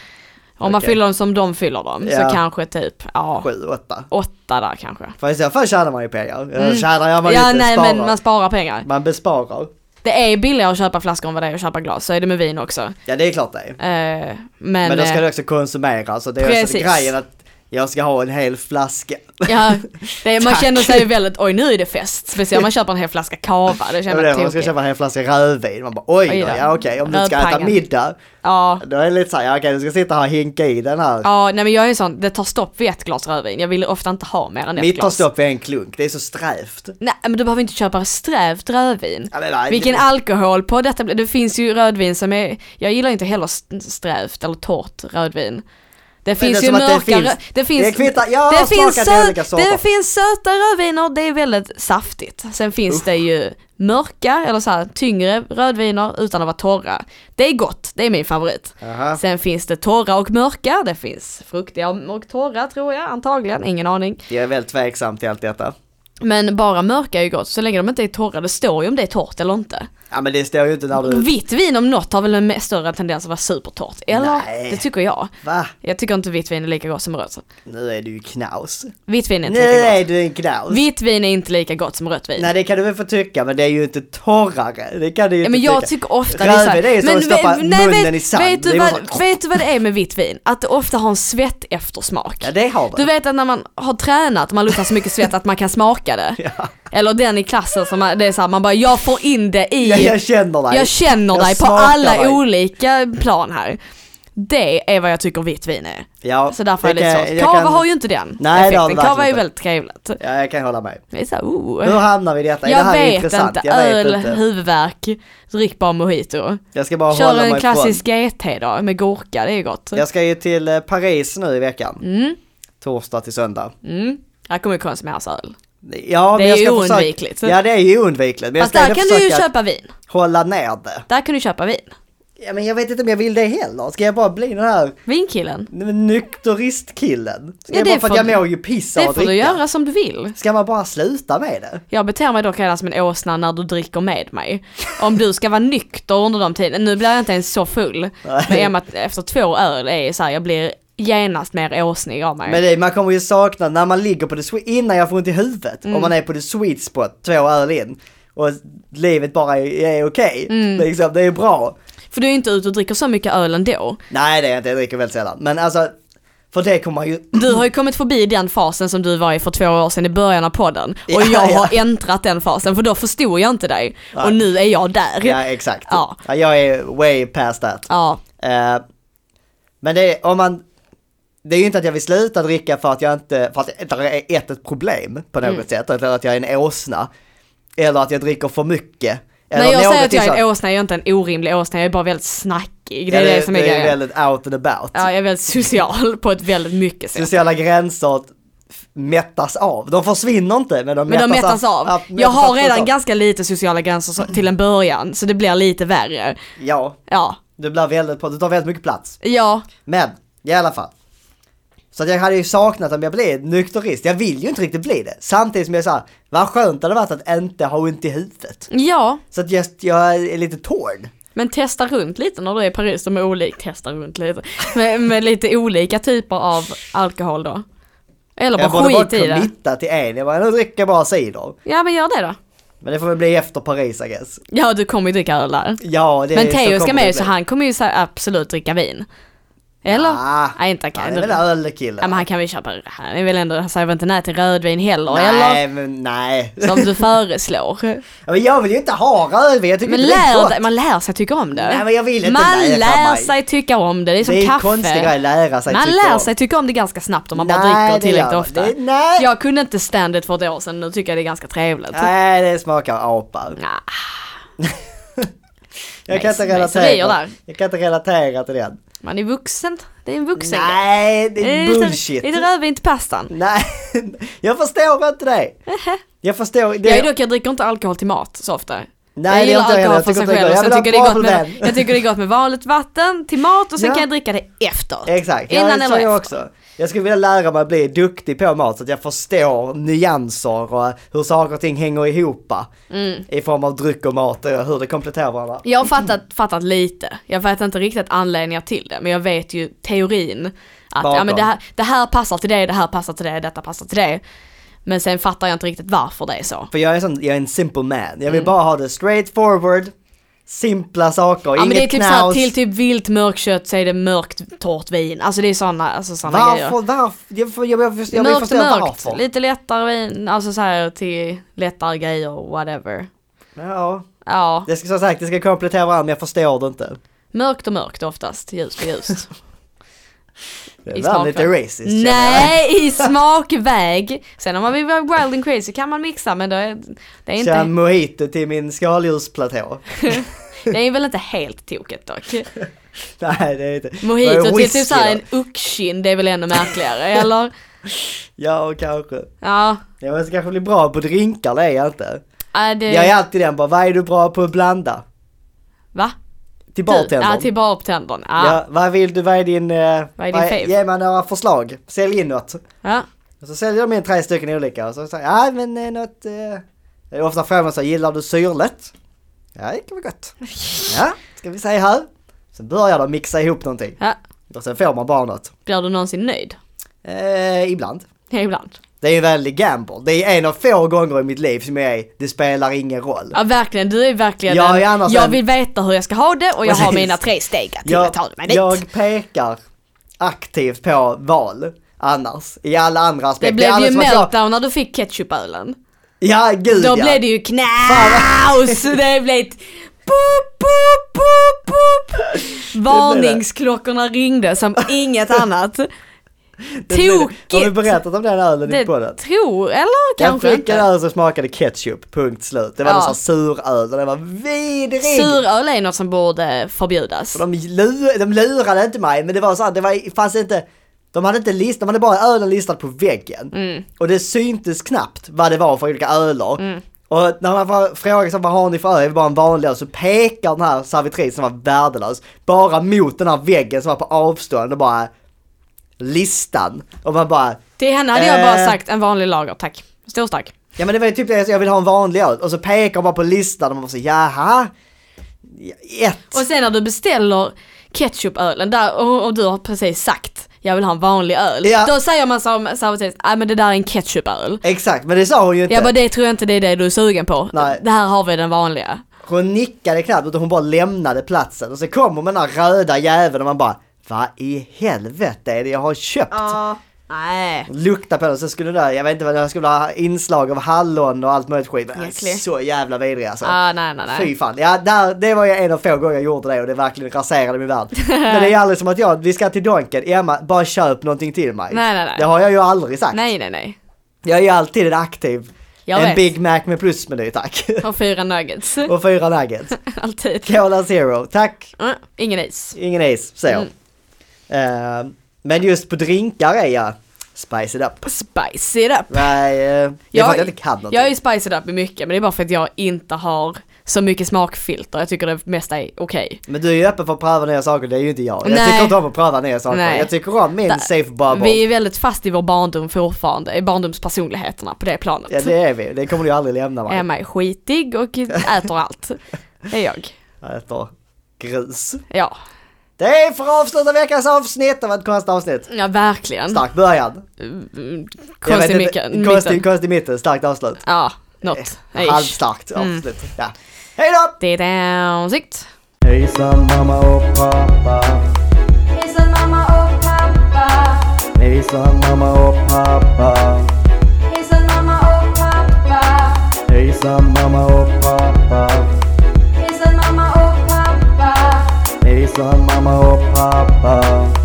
Speaker 1: Om man
Speaker 2: Okej.
Speaker 1: fyller dem som de fyller dem
Speaker 2: Ja.
Speaker 1: så kanske typ, ja,
Speaker 2: Sju, åtta.
Speaker 1: åtta där kanske.
Speaker 2: För i så fall tjänar man ju pengar. Mm. Tjänar jag man
Speaker 1: ja,
Speaker 2: inte,
Speaker 1: nej
Speaker 2: sparar.
Speaker 1: men man sparar pengar.
Speaker 2: Man besparar.
Speaker 1: Det är billigare att köpa flaskor än vad det är att köpa glas, så är det med vin också. Eh,
Speaker 2: Ja det är klart det är.
Speaker 1: men
Speaker 2: Men, då ska
Speaker 1: eh,
Speaker 2: det också konsumeras och det är också
Speaker 1: Precis.
Speaker 2: grejen att jag ska ha en hel flaska.
Speaker 1: Ja, det, man
Speaker 2: Tack.
Speaker 1: känner sig väldigt, oj nu är det fest. Speciellt om man köper en hel flaska cava, det
Speaker 2: Jag
Speaker 1: känner
Speaker 2: vet,
Speaker 1: jag
Speaker 2: inte, man ska
Speaker 1: tokigt.
Speaker 2: köpa en hel flaska rödvin. Man bara oj då,
Speaker 1: Oj då.
Speaker 2: ja okej om du ska äta
Speaker 1: Rödpangen.
Speaker 2: middag.
Speaker 1: Ja.
Speaker 2: Då är det lite såhär, ja, okej du ska sitta här och hinka i den här.
Speaker 1: ja, nej men jag är sån, det tar stopp vid ett glas rödvin. Jag vill ofta inte ha mer än ett
Speaker 2: Mitt tar
Speaker 1: glas.
Speaker 2: stopp i en klunk, det är så strävt.
Speaker 1: Nej men du behöver inte köpa strävt rödvin.
Speaker 2: Ja, men nej,
Speaker 1: Vilken
Speaker 2: det-
Speaker 1: alkohol på detta blir- det finns ju rödvin som är, jag gillar inte heller st- strävt eller torrt rödvin. Det
Speaker 2: det
Speaker 1: finns
Speaker 2: är
Speaker 1: ju
Speaker 2: som att det
Speaker 1: mörka,
Speaker 2: finns-
Speaker 1: rö- det finns,
Speaker 2: det kvittar, jag har
Speaker 1: finns
Speaker 2: smakat
Speaker 1: sö-
Speaker 2: olika sorter.
Speaker 1: det finns söta rödviner, det är väldigt saftigt. Sen finns det ju mörka eller så här, tyngre rödviner utan att vara torra. Det är gott, det är min favorit.
Speaker 2: Aha.
Speaker 1: Sen finns det torra och mörka, det finns fruktiga och torra tror jag antagligen, ingen aning.
Speaker 2: Jag är väldigt tveksam till allt detta.
Speaker 1: Men bara mörka är ju gott, så länge de inte är torra, det står ju om det är torrt eller inte.
Speaker 2: Ja men det står ju inte när du...
Speaker 1: Vitt vin om något har väl en me- större tendens att vara supertorrt, eller?
Speaker 2: Nej.
Speaker 1: Det tycker jag.
Speaker 2: Va?
Speaker 1: Jag tycker inte vitt vin är lika gott som rött.
Speaker 2: Nu är du ju knaus.
Speaker 1: Vitt vin är inte
Speaker 2: Nu
Speaker 1: lika
Speaker 2: är
Speaker 1: gott.
Speaker 2: du en knaus.
Speaker 1: Vitt vin är inte lika gott som rött vin.
Speaker 2: Nej det kan du väl få tycka men det är ju inte torrare. Det kan du ju
Speaker 1: Ja,
Speaker 2: inte
Speaker 1: men jag
Speaker 2: tycka.
Speaker 1: tycker ofta det är så här-
Speaker 2: Rödvin är ju som
Speaker 1: men
Speaker 2: att stoppa
Speaker 1: vet- nej,
Speaker 2: munnen
Speaker 1: vet-
Speaker 2: i sand.
Speaker 1: Vet
Speaker 2: Det
Speaker 1: du,
Speaker 2: är bara
Speaker 1: vad,
Speaker 2: så-
Speaker 1: vet du vad det är med vitt vin? Att det ofta har en svett eftersmak.
Speaker 2: Ja det har
Speaker 1: Du
Speaker 2: du.
Speaker 1: vet att när man har tränat, man luktar så mycket svett att man kan smaka det. Eller den i klassen som man, det är så här, man bara jag får in det i
Speaker 2: Jag, jag känner dig.
Speaker 1: Jag känner
Speaker 2: Jag
Speaker 1: dig på
Speaker 2: smakar
Speaker 1: alla
Speaker 2: dig.
Speaker 1: olika plan här. Det är vad jag tycker vitt vin är.
Speaker 2: Ja,
Speaker 1: Så därför är det
Speaker 2: jag kan-
Speaker 1: lite svårt.
Speaker 2: jag
Speaker 1: Kava
Speaker 2: kan-
Speaker 1: har ju inte den
Speaker 2: Nej, det har
Speaker 1: effekten.
Speaker 2: det
Speaker 1: Kava är ju
Speaker 2: verkligen
Speaker 1: väldigt trevligt.
Speaker 2: Ja jag kan hålla med.
Speaker 1: Det är så här, oh.
Speaker 2: Hur hamnar vi i detta? det
Speaker 1: Jag
Speaker 2: här är
Speaker 1: vet
Speaker 2: intressant.
Speaker 1: inte.
Speaker 2: Jag vet
Speaker 1: Öl,
Speaker 2: inte.
Speaker 1: huvudvärk, drick bara mojito.
Speaker 2: Jag ska bara
Speaker 1: Kör
Speaker 2: hålla
Speaker 1: en
Speaker 2: mig
Speaker 1: klassisk GT då med gurka, det är gott.
Speaker 2: ifrån. Jag ska ju till eh, Paris nu i veckan.
Speaker 1: Mm,
Speaker 2: Torsdag till söndag.
Speaker 1: mm. Här kommer ju konsumeras öl.
Speaker 2: Ja,
Speaker 1: Det
Speaker 2: men
Speaker 1: är
Speaker 2: jag
Speaker 1: ju
Speaker 2: ska försöka-
Speaker 1: oundvikligt.
Speaker 2: Ja det är ju oundvikligt. Men
Speaker 1: Fast
Speaker 2: jag ska
Speaker 1: där
Speaker 2: ändå
Speaker 1: kan du ju
Speaker 2: försöka
Speaker 1: köpa vin.
Speaker 2: hålla ner det.
Speaker 1: Där kan du köpa vin.
Speaker 2: Ja, men jag vet inte om jag vill det heller. Ska jag bara bli den här
Speaker 1: Vinkillen.
Speaker 2: n- nykteristkillen? Ska
Speaker 1: Ja,
Speaker 2: jag
Speaker 1: det
Speaker 2: bara för att jag
Speaker 1: får du-
Speaker 2: mår ju piss av
Speaker 1: Det
Speaker 2: att
Speaker 1: får
Speaker 2: dricka?
Speaker 1: du göra som du vill.
Speaker 2: Ska man bara sluta med det?
Speaker 1: Jag beter mig dock redan som en åsna när du dricker med mig. Om du ska vara nykter under de tiden, nu blir jag inte ens så full. Men i och med att efter två öl är jag så här, jag blir genast mer åsnig av mig.
Speaker 2: Men det, man kommer ju sakna när man ligger på det sweet, innan jag får ont i huvudet,
Speaker 1: Mm.
Speaker 2: om man är på det sweet spot två öl in och livet bara är, är okej.
Speaker 1: Mm.
Speaker 2: Liksom, det är bra.
Speaker 1: För du är ju inte ute och dricker så mycket öl ändå.
Speaker 2: Nej det är jag inte, jag dricker väldigt sällan. Men alltså, för det kommer man ju,
Speaker 1: Du har ju kommit förbi den fasen som du var i för två år sedan i början av podden. Och
Speaker 2: Ja,
Speaker 1: jag har
Speaker 2: ja.
Speaker 1: äntrat den fasen för då förstod jag inte dig.
Speaker 2: Nej.
Speaker 1: Och nu är jag där.
Speaker 2: ja exakt.
Speaker 1: Ja.
Speaker 2: Ja, jag är way past that.
Speaker 1: Ja.
Speaker 2: Eh, men det är, om man, det är ju inte att jag vill sluta dricka för att jag inte, för att det är ett, ett problem på
Speaker 1: Mm.
Speaker 2: något sätt, eller att jag är en åsna. Eller att jag dricker för mycket. Eller
Speaker 1: När jag säger att
Speaker 2: någonting
Speaker 1: jag är en
Speaker 2: sånt.
Speaker 1: åsna, jag är inte en orimlig åsna, jag är bara väldigt snackig. Det är
Speaker 2: Ja,
Speaker 1: det, som är
Speaker 2: det är
Speaker 1: grejen.
Speaker 2: väldigt out and about.
Speaker 1: Ja, jag är väldigt social på ett väldigt mycket sätt.
Speaker 2: sociala gränser f- mättas av. De försvinner inte men de
Speaker 1: Men de
Speaker 2: mättas,
Speaker 1: mättas av.
Speaker 2: Ja, mättas
Speaker 1: jag har
Speaker 2: av.
Speaker 1: redan ganska lite sociala gränser så, till en början, så det blir lite värre.
Speaker 2: Ja,
Speaker 1: Ja,
Speaker 2: du blir väldigt, du tar väldigt mycket plats.
Speaker 1: ja,
Speaker 2: Men, i alla fall. Så att jag hade ju saknat om jag blev nykterist. Jag vill ju inte riktigt bli det. Samtidigt som jag sa, vad skönt det hade varit att inte ha ont i huvudet.
Speaker 1: ja.
Speaker 2: Så att just, jag är lite torn.
Speaker 1: Men testa runt lite när du är i Paris, de är olika, testa runt lite. Med, med lite olika typer av alkohol då. Eller
Speaker 2: Jag
Speaker 1: bara
Speaker 2: borde bara
Speaker 1: skit i det.
Speaker 2: committa till en. Jag bara, nu dricker jag bara cider.
Speaker 1: Ja men gör det då.
Speaker 2: Men det får väl bli efter Paris I guess.
Speaker 1: Ja du kommer ju dricka öl där.
Speaker 2: Ja, det
Speaker 1: Men
Speaker 2: så
Speaker 1: Theo ska
Speaker 2: kommer det
Speaker 1: med ju
Speaker 2: bli.
Speaker 1: så han kommer ju så här absolut dricka vin. Eller?
Speaker 2: Ah,
Speaker 1: Nej inte
Speaker 2: Han
Speaker 1: kan
Speaker 2: är väl
Speaker 1: ja,
Speaker 2: ölkille.
Speaker 1: men han kan väl köpa, han är väl ändå, han säger väl inte nej till rödvin heller eller?
Speaker 2: Nej, men nej.
Speaker 1: Som du föreslår.
Speaker 2: Ja, men jag vill ju inte ha rödvin, jag tycker
Speaker 1: Men
Speaker 2: inte det är
Speaker 1: lär
Speaker 2: gott.
Speaker 1: dig, man lär sig tycka om det.
Speaker 2: Nej, men jag vill inte
Speaker 1: man
Speaker 2: lära
Speaker 1: lär
Speaker 2: mig.
Speaker 1: sig tycka om det, det är som
Speaker 2: det är en
Speaker 1: kaffe.
Speaker 2: konstig grej att lära sig
Speaker 1: man
Speaker 2: tycker
Speaker 1: lär
Speaker 2: jag.
Speaker 1: sig tycka om det ganska snabbt om man bara
Speaker 2: Nej,
Speaker 1: dricker
Speaker 2: det
Speaker 1: tillräckligt
Speaker 2: gör
Speaker 1: ofta.
Speaker 2: man. Det- nej.
Speaker 1: Jag kunde inte stand-it för ett år sedan, nu tycker jag det är ganska trevligt.
Speaker 2: Nej, det smakar apa.
Speaker 1: Nah,
Speaker 2: Jag kan,
Speaker 1: nice-
Speaker 2: inte
Speaker 1: nice idéer
Speaker 2: relatera,
Speaker 1: där.
Speaker 2: jag kan inte relatera till den.
Speaker 1: man är vuxen, det är en vuxen grej. Eh,
Speaker 2: Nej, det är
Speaker 1: lite-
Speaker 2: bullshit.
Speaker 1: Lite rödvin till pastan.
Speaker 2: Nej, jag förstår inte det. Jag förstår det.
Speaker 1: Jag, är dock, jag dricker inte alkohol till mat så ofta.
Speaker 2: Nej,
Speaker 1: jag
Speaker 2: det är
Speaker 1: gillar
Speaker 2: inte jag
Speaker 1: alkohol
Speaker 2: heller. Jag
Speaker 1: för
Speaker 2: tycker
Speaker 1: sig
Speaker 2: inte det är
Speaker 1: själv och
Speaker 2: gott.
Speaker 1: sen tycker
Speaker 2: Jag vill
Speaker 1: det,
Speaker 2: ha
Speaker 1: är gott med,
Speaker 2: bottenvän.
Speaker 1: jag tycker det är gott med vanligt vatten till mat och sen
Speaker 2: Ja.
Speaker 1: kan jag dricka det efteråt.
Speaker 2: Exakt,
Speaker 1: Innan
Speaker 2: jag,
Speaker 1: eller
Speaker 2: så
Speaker 1: efter.
Speaker 2: jag också. Jag skulle vilja lära mig att bli duktig på mat så att jag förstår nyanser och hur saker och ting hänger ihop
Speaker 1: Mm.
Speaker 2: i form av dryck och mat och hur det kompletterar varandra.
Speaker 1: Jag har fattat, fattat lite. Jag vet inte riktigt anledningar till det, men jag vet ju teorin. Att ja,
Speaker 2: Bakom.
Speaker 1: men det, här, det här passar till det, det här passar till det, detta passar till det. Men sen fattar jag inte riktigt varför det är så. Mm.
Speaker 2: För jag är, sån, jag är en simple man. Jag vill bara ha det straight forward. simpla saker,
Speaker 1: Ja men
Speaker 2: inget
Speaker 1: det är typ såhär,
Speaker 2: knaus.
Speaker 1: till typ vilt mörkkött så är det mörkt torrt vin. Alltså det är sådana, alltså såna grejer.
Speaker 2: varför, varför? Jag, får- jag, jag, jag, jag vill
Speaker 1: mörkt och
Speaker 2: förstå
Speaker 1: mörkt,
Speaker 2: varför.
Speaker 1: lite lättare vin, alltså såhär till lättare grejer, whatever.
Speaker 2: Ja,
Speaker 1: Ja,
Speaker 2: det ska, som sagt, det ska komplettera varandra, men jag förstår det inte.
Speaker 1: mörkt och mörkt oftast, ljust och ljust.
Speaker 2: Det
Speaker 1: I
Speaker 2: är lite
Speaker 1: smakväg.
Speaker 2: racist känner jag.
Speaker 1: Nej, i smakväg! Sen om man vill vara wild and crazy kan man mixa men det är, det är,
Speaker 2: Kör en
Speaker 1: inte,
Speaker 2: mojito till min skaldjursplatå.
Speaker 1: det är väl inte helt tokigt dock.
Speaker 2: Nej det är inte. Vad är
Speaker 1: Mojito till
Speaker 2: whisky
Speaker 1: typ såhär
Speaker 2: då?
Speaker 1: en uckskin, det är väl ännu märkligare, eller?
Speaker 2: Ja kanske.
Speaker 1: Ja,
Speaker 2: Jag måste kanske bli bra på drinkar, det är jag inte.
Speaker 1: äh, det...
Speaker 2: Jag är alltid den bara, vad är du bra på att blanda?
Speaker 1: Va?
Speaker 2: Till
Speaker 1: Ja,
Speaker 2: bartendern.
Speaker 1: till bartendern. Ja.
Speaker 2: Ja, vad vill du, vad är din... eh,
Speaker 1: Vad är din fave?
Speaker 2: Ge mig några förslag, sälj in något.
Speaker 1: Ja.
Speaker 2: Och så säljer de in tre stycken olika och så säger jag, ja men eh, något... Eh... Det är ofta frågan så här, gillar du syrligt? Ja det kan vara gott. Ja, ska vi säga här. Sen börjar de mixa ihop någonting.
Speaker 1: ja.
Speaker 2: Och sen får man bara något.
Speaker 1: Blir du någonsin nöjd?
Speaker 2: Eh, ibland.
Speaker 1: Ja, ibland.
Speaker 2: Det är ju en väldig gamble. Det är en av få gånger i mitt liv som jag är, det spelar ingen roll.
Speaker 1: Ja verkligen, du är verkligen
Speaker 2: Jag är
Speaker 1: en-
Speaker 2: annars
Speaker 1: Jag
Speaker 2: en-
Speaker 1: vill veta hur jag ska ha det och jag har
Speaker 2: Precis.
Speaker 1: mina tre steg att till att
Speaker 2: Jag,
Speaker 1: ta mig dit.
Speaker 2: jag pekar aktivt på val annars. I alla andra
Speaker 1: det
Speaker 2: aspekter. är
Speaker 1: blev ju
Speaker 2: alldeles som att jag-
Speaker 1: meltdown när du fick ketchupölen.
Speaker 2: Ja, gud
Speaker 1: Då
Speaker 2: ja.
Speaker 1: blev det ju knaus! Det blev ett boop, boop, boop, boop. Varningsklockorna ringde som inget annat.
Speaker 2: Det blev det. Har vi
Speaker 1: Tokigt!
Speaker 2: berättat om den ölen i
Speaker 1: Det
Speaker 2: podden?
Speaker 1: tror, eller kanske
Speaker 2: jag fick en
Speaker 1: inte.
Speaker 2: öl som smakade ketchup, punkt slut. Det var
Speaker 1: Ja.
Speaker 2: en sån här suröl och den var vidrig!
Speaker 1: Suröl är något som borde förbjudas.
Speaker 2: Och De, lu- de lurade inte mig men det var så här, det var, fanns inte, de hade inte listat, de hade bara ölen listad på väggen.
Speaker 1: Mm.
Speaker 2: Och det syntes knappt vad det var för olika öler. Och när man var- frågade så, vad har ni för öl, är det bara en vanlig öl? Så pekar den här servitrisen som var värdelös, bara mot den här väggen som var på avstånd och bara listan. Och man bara,
Speaker 1: Till henne hade jag bara
Speaker 2: Eh.
Speaker 1: sagt en vanlig lager, tack. Stor stark.
Speaker 2: Ja men det var ju typ det, jag vill ha en vanlig öl. Och så pekar de bara på listan och man bara så jaha? Ja, Ett.
Speaker 1: Och sen när du beställer ketchupölen där och, och du har precis sagt jag vill ha en vanlig öl.
Speaker 2: Ja.
Speaker 1: Då säger man som servitris, nej men det där är en ketchupöl.
Speaker 2: Exakt, men det sa hon ju inte.
Speaker 1: Jag bara det tror jag inte det är det du är sugen på.
Speaker 2: Nej.
Speaker 1: Det här har vi den vanliga.
Speaker 2: Hon nickade knappt utan hon bara lämnade platsen. Och så kom hon med den här röda jäveln och man bara, vad i helvete är det jag har köpt?
Speaker 1: Nej.
Speaker 2: Lukta på den så skulle det, jag vet inte vad det skulle ha inslag av hallon och allt möjligt skit. Men
Speaker 1: Äcklig.
Speaker 2: Så jävla vidrig alltså.
Speaker 1: Ah, nej nej nej.
Speaker 2: Fy fan, ja där, det var ju en av få gånger jag gjorde det och det verkligen raserade min värld. Men det är aldrig som att jag, vi ska till Donken, Emma bara köp någonting till mig.
Speaker 1: Nej, nej, nej.
Speaker 2: Det har jag ju aldrig sagt.
Speaker 1: Nej nej nej.
Speaker 2: Jag är ju alltid en aktiv.
Speaker 1: Jag
Speaker 2: en
Speaker 1: vet.
Speaker 2: Big Mac med plusmeny tack.
Speaker 1: Och fyra nuggets.
Speaker 2: och fyra nuggets.
Speaker 1: Alltid.
Speaker 2: Cola Zero, tack.
Speaker 1: Mm, ingen is.
Speaker 2: Ingen is, så.
Speaker 1: Mm.
Speaker 2: Eh, men just på drinkar är jag spice it up.
Speaker 1: Spice it up.
Speaker 2: Nej, eh, det är för att jag inte kan någonting.
Speaker 1: jag är ju spice it up i mycket men det är bara för att jag inte har så mycket smakfilter. Jag tycker det mesta är okej.
Speaker 2: Men du är ju öppen för att pröva nya saker, det är ju inte jag. Jag
Speaker 1: Nej.
Speaker 2: tycker inte om att pröva nya saker.
Speaker 1: Nej.
Speaker 2: Jag tycker om min
Speaker 1: Där-
Speaker 2: safe bubble.
Speaker 1: Vi är väldigt fast i vår barndom fortfarande, i barndomspersonligheterna på det planet.
Speaker 2: Ja det är vi, det kommer du aldrig lämna mig.
Speaker 1: Emma är skitig och äter allt. Det är jag.
Speaker 2: Jag äter grus.
Speaker 1: Ja,
Speaker 2: Det är för att avsluta veckans avsnitt, det var ett konstigt avsnitt.
Speaker 1: ja verkligen.
Speaker 2: Stark början.
Speaker 1: Mm,
Speaker 2: Jag vet
Speaker 1: Konstig
Speaker 2: inte,
Speaker 1: mitten.
Speaker 2: Konstig, Eh,
Speaker 1: mitten.
Speaker 2: konstig mitten, starkt avslut.
Speaker 1: Ja, något. Ish.
Speaker 2: Halvstarkt
Speaker 1: Mm.
Speaker 2: avslut. Ja. Hej då!
Speaker 1: Det är downsikt.
Speaker 2: Hejsan mamma och pappa.
Speaker 3: Hejsan mamma och pappa.
Speaker 2: Hejsan mamma och pappa.
Speaker 3: Hejsan mamma och pappa.
Speaker 2: Hejsan mamma och pappa.
Speaker 3: oh, Hejsan mamma och pappa.
Speaker 2: Hejsan mamma och pappa.
Speaker 3: oh,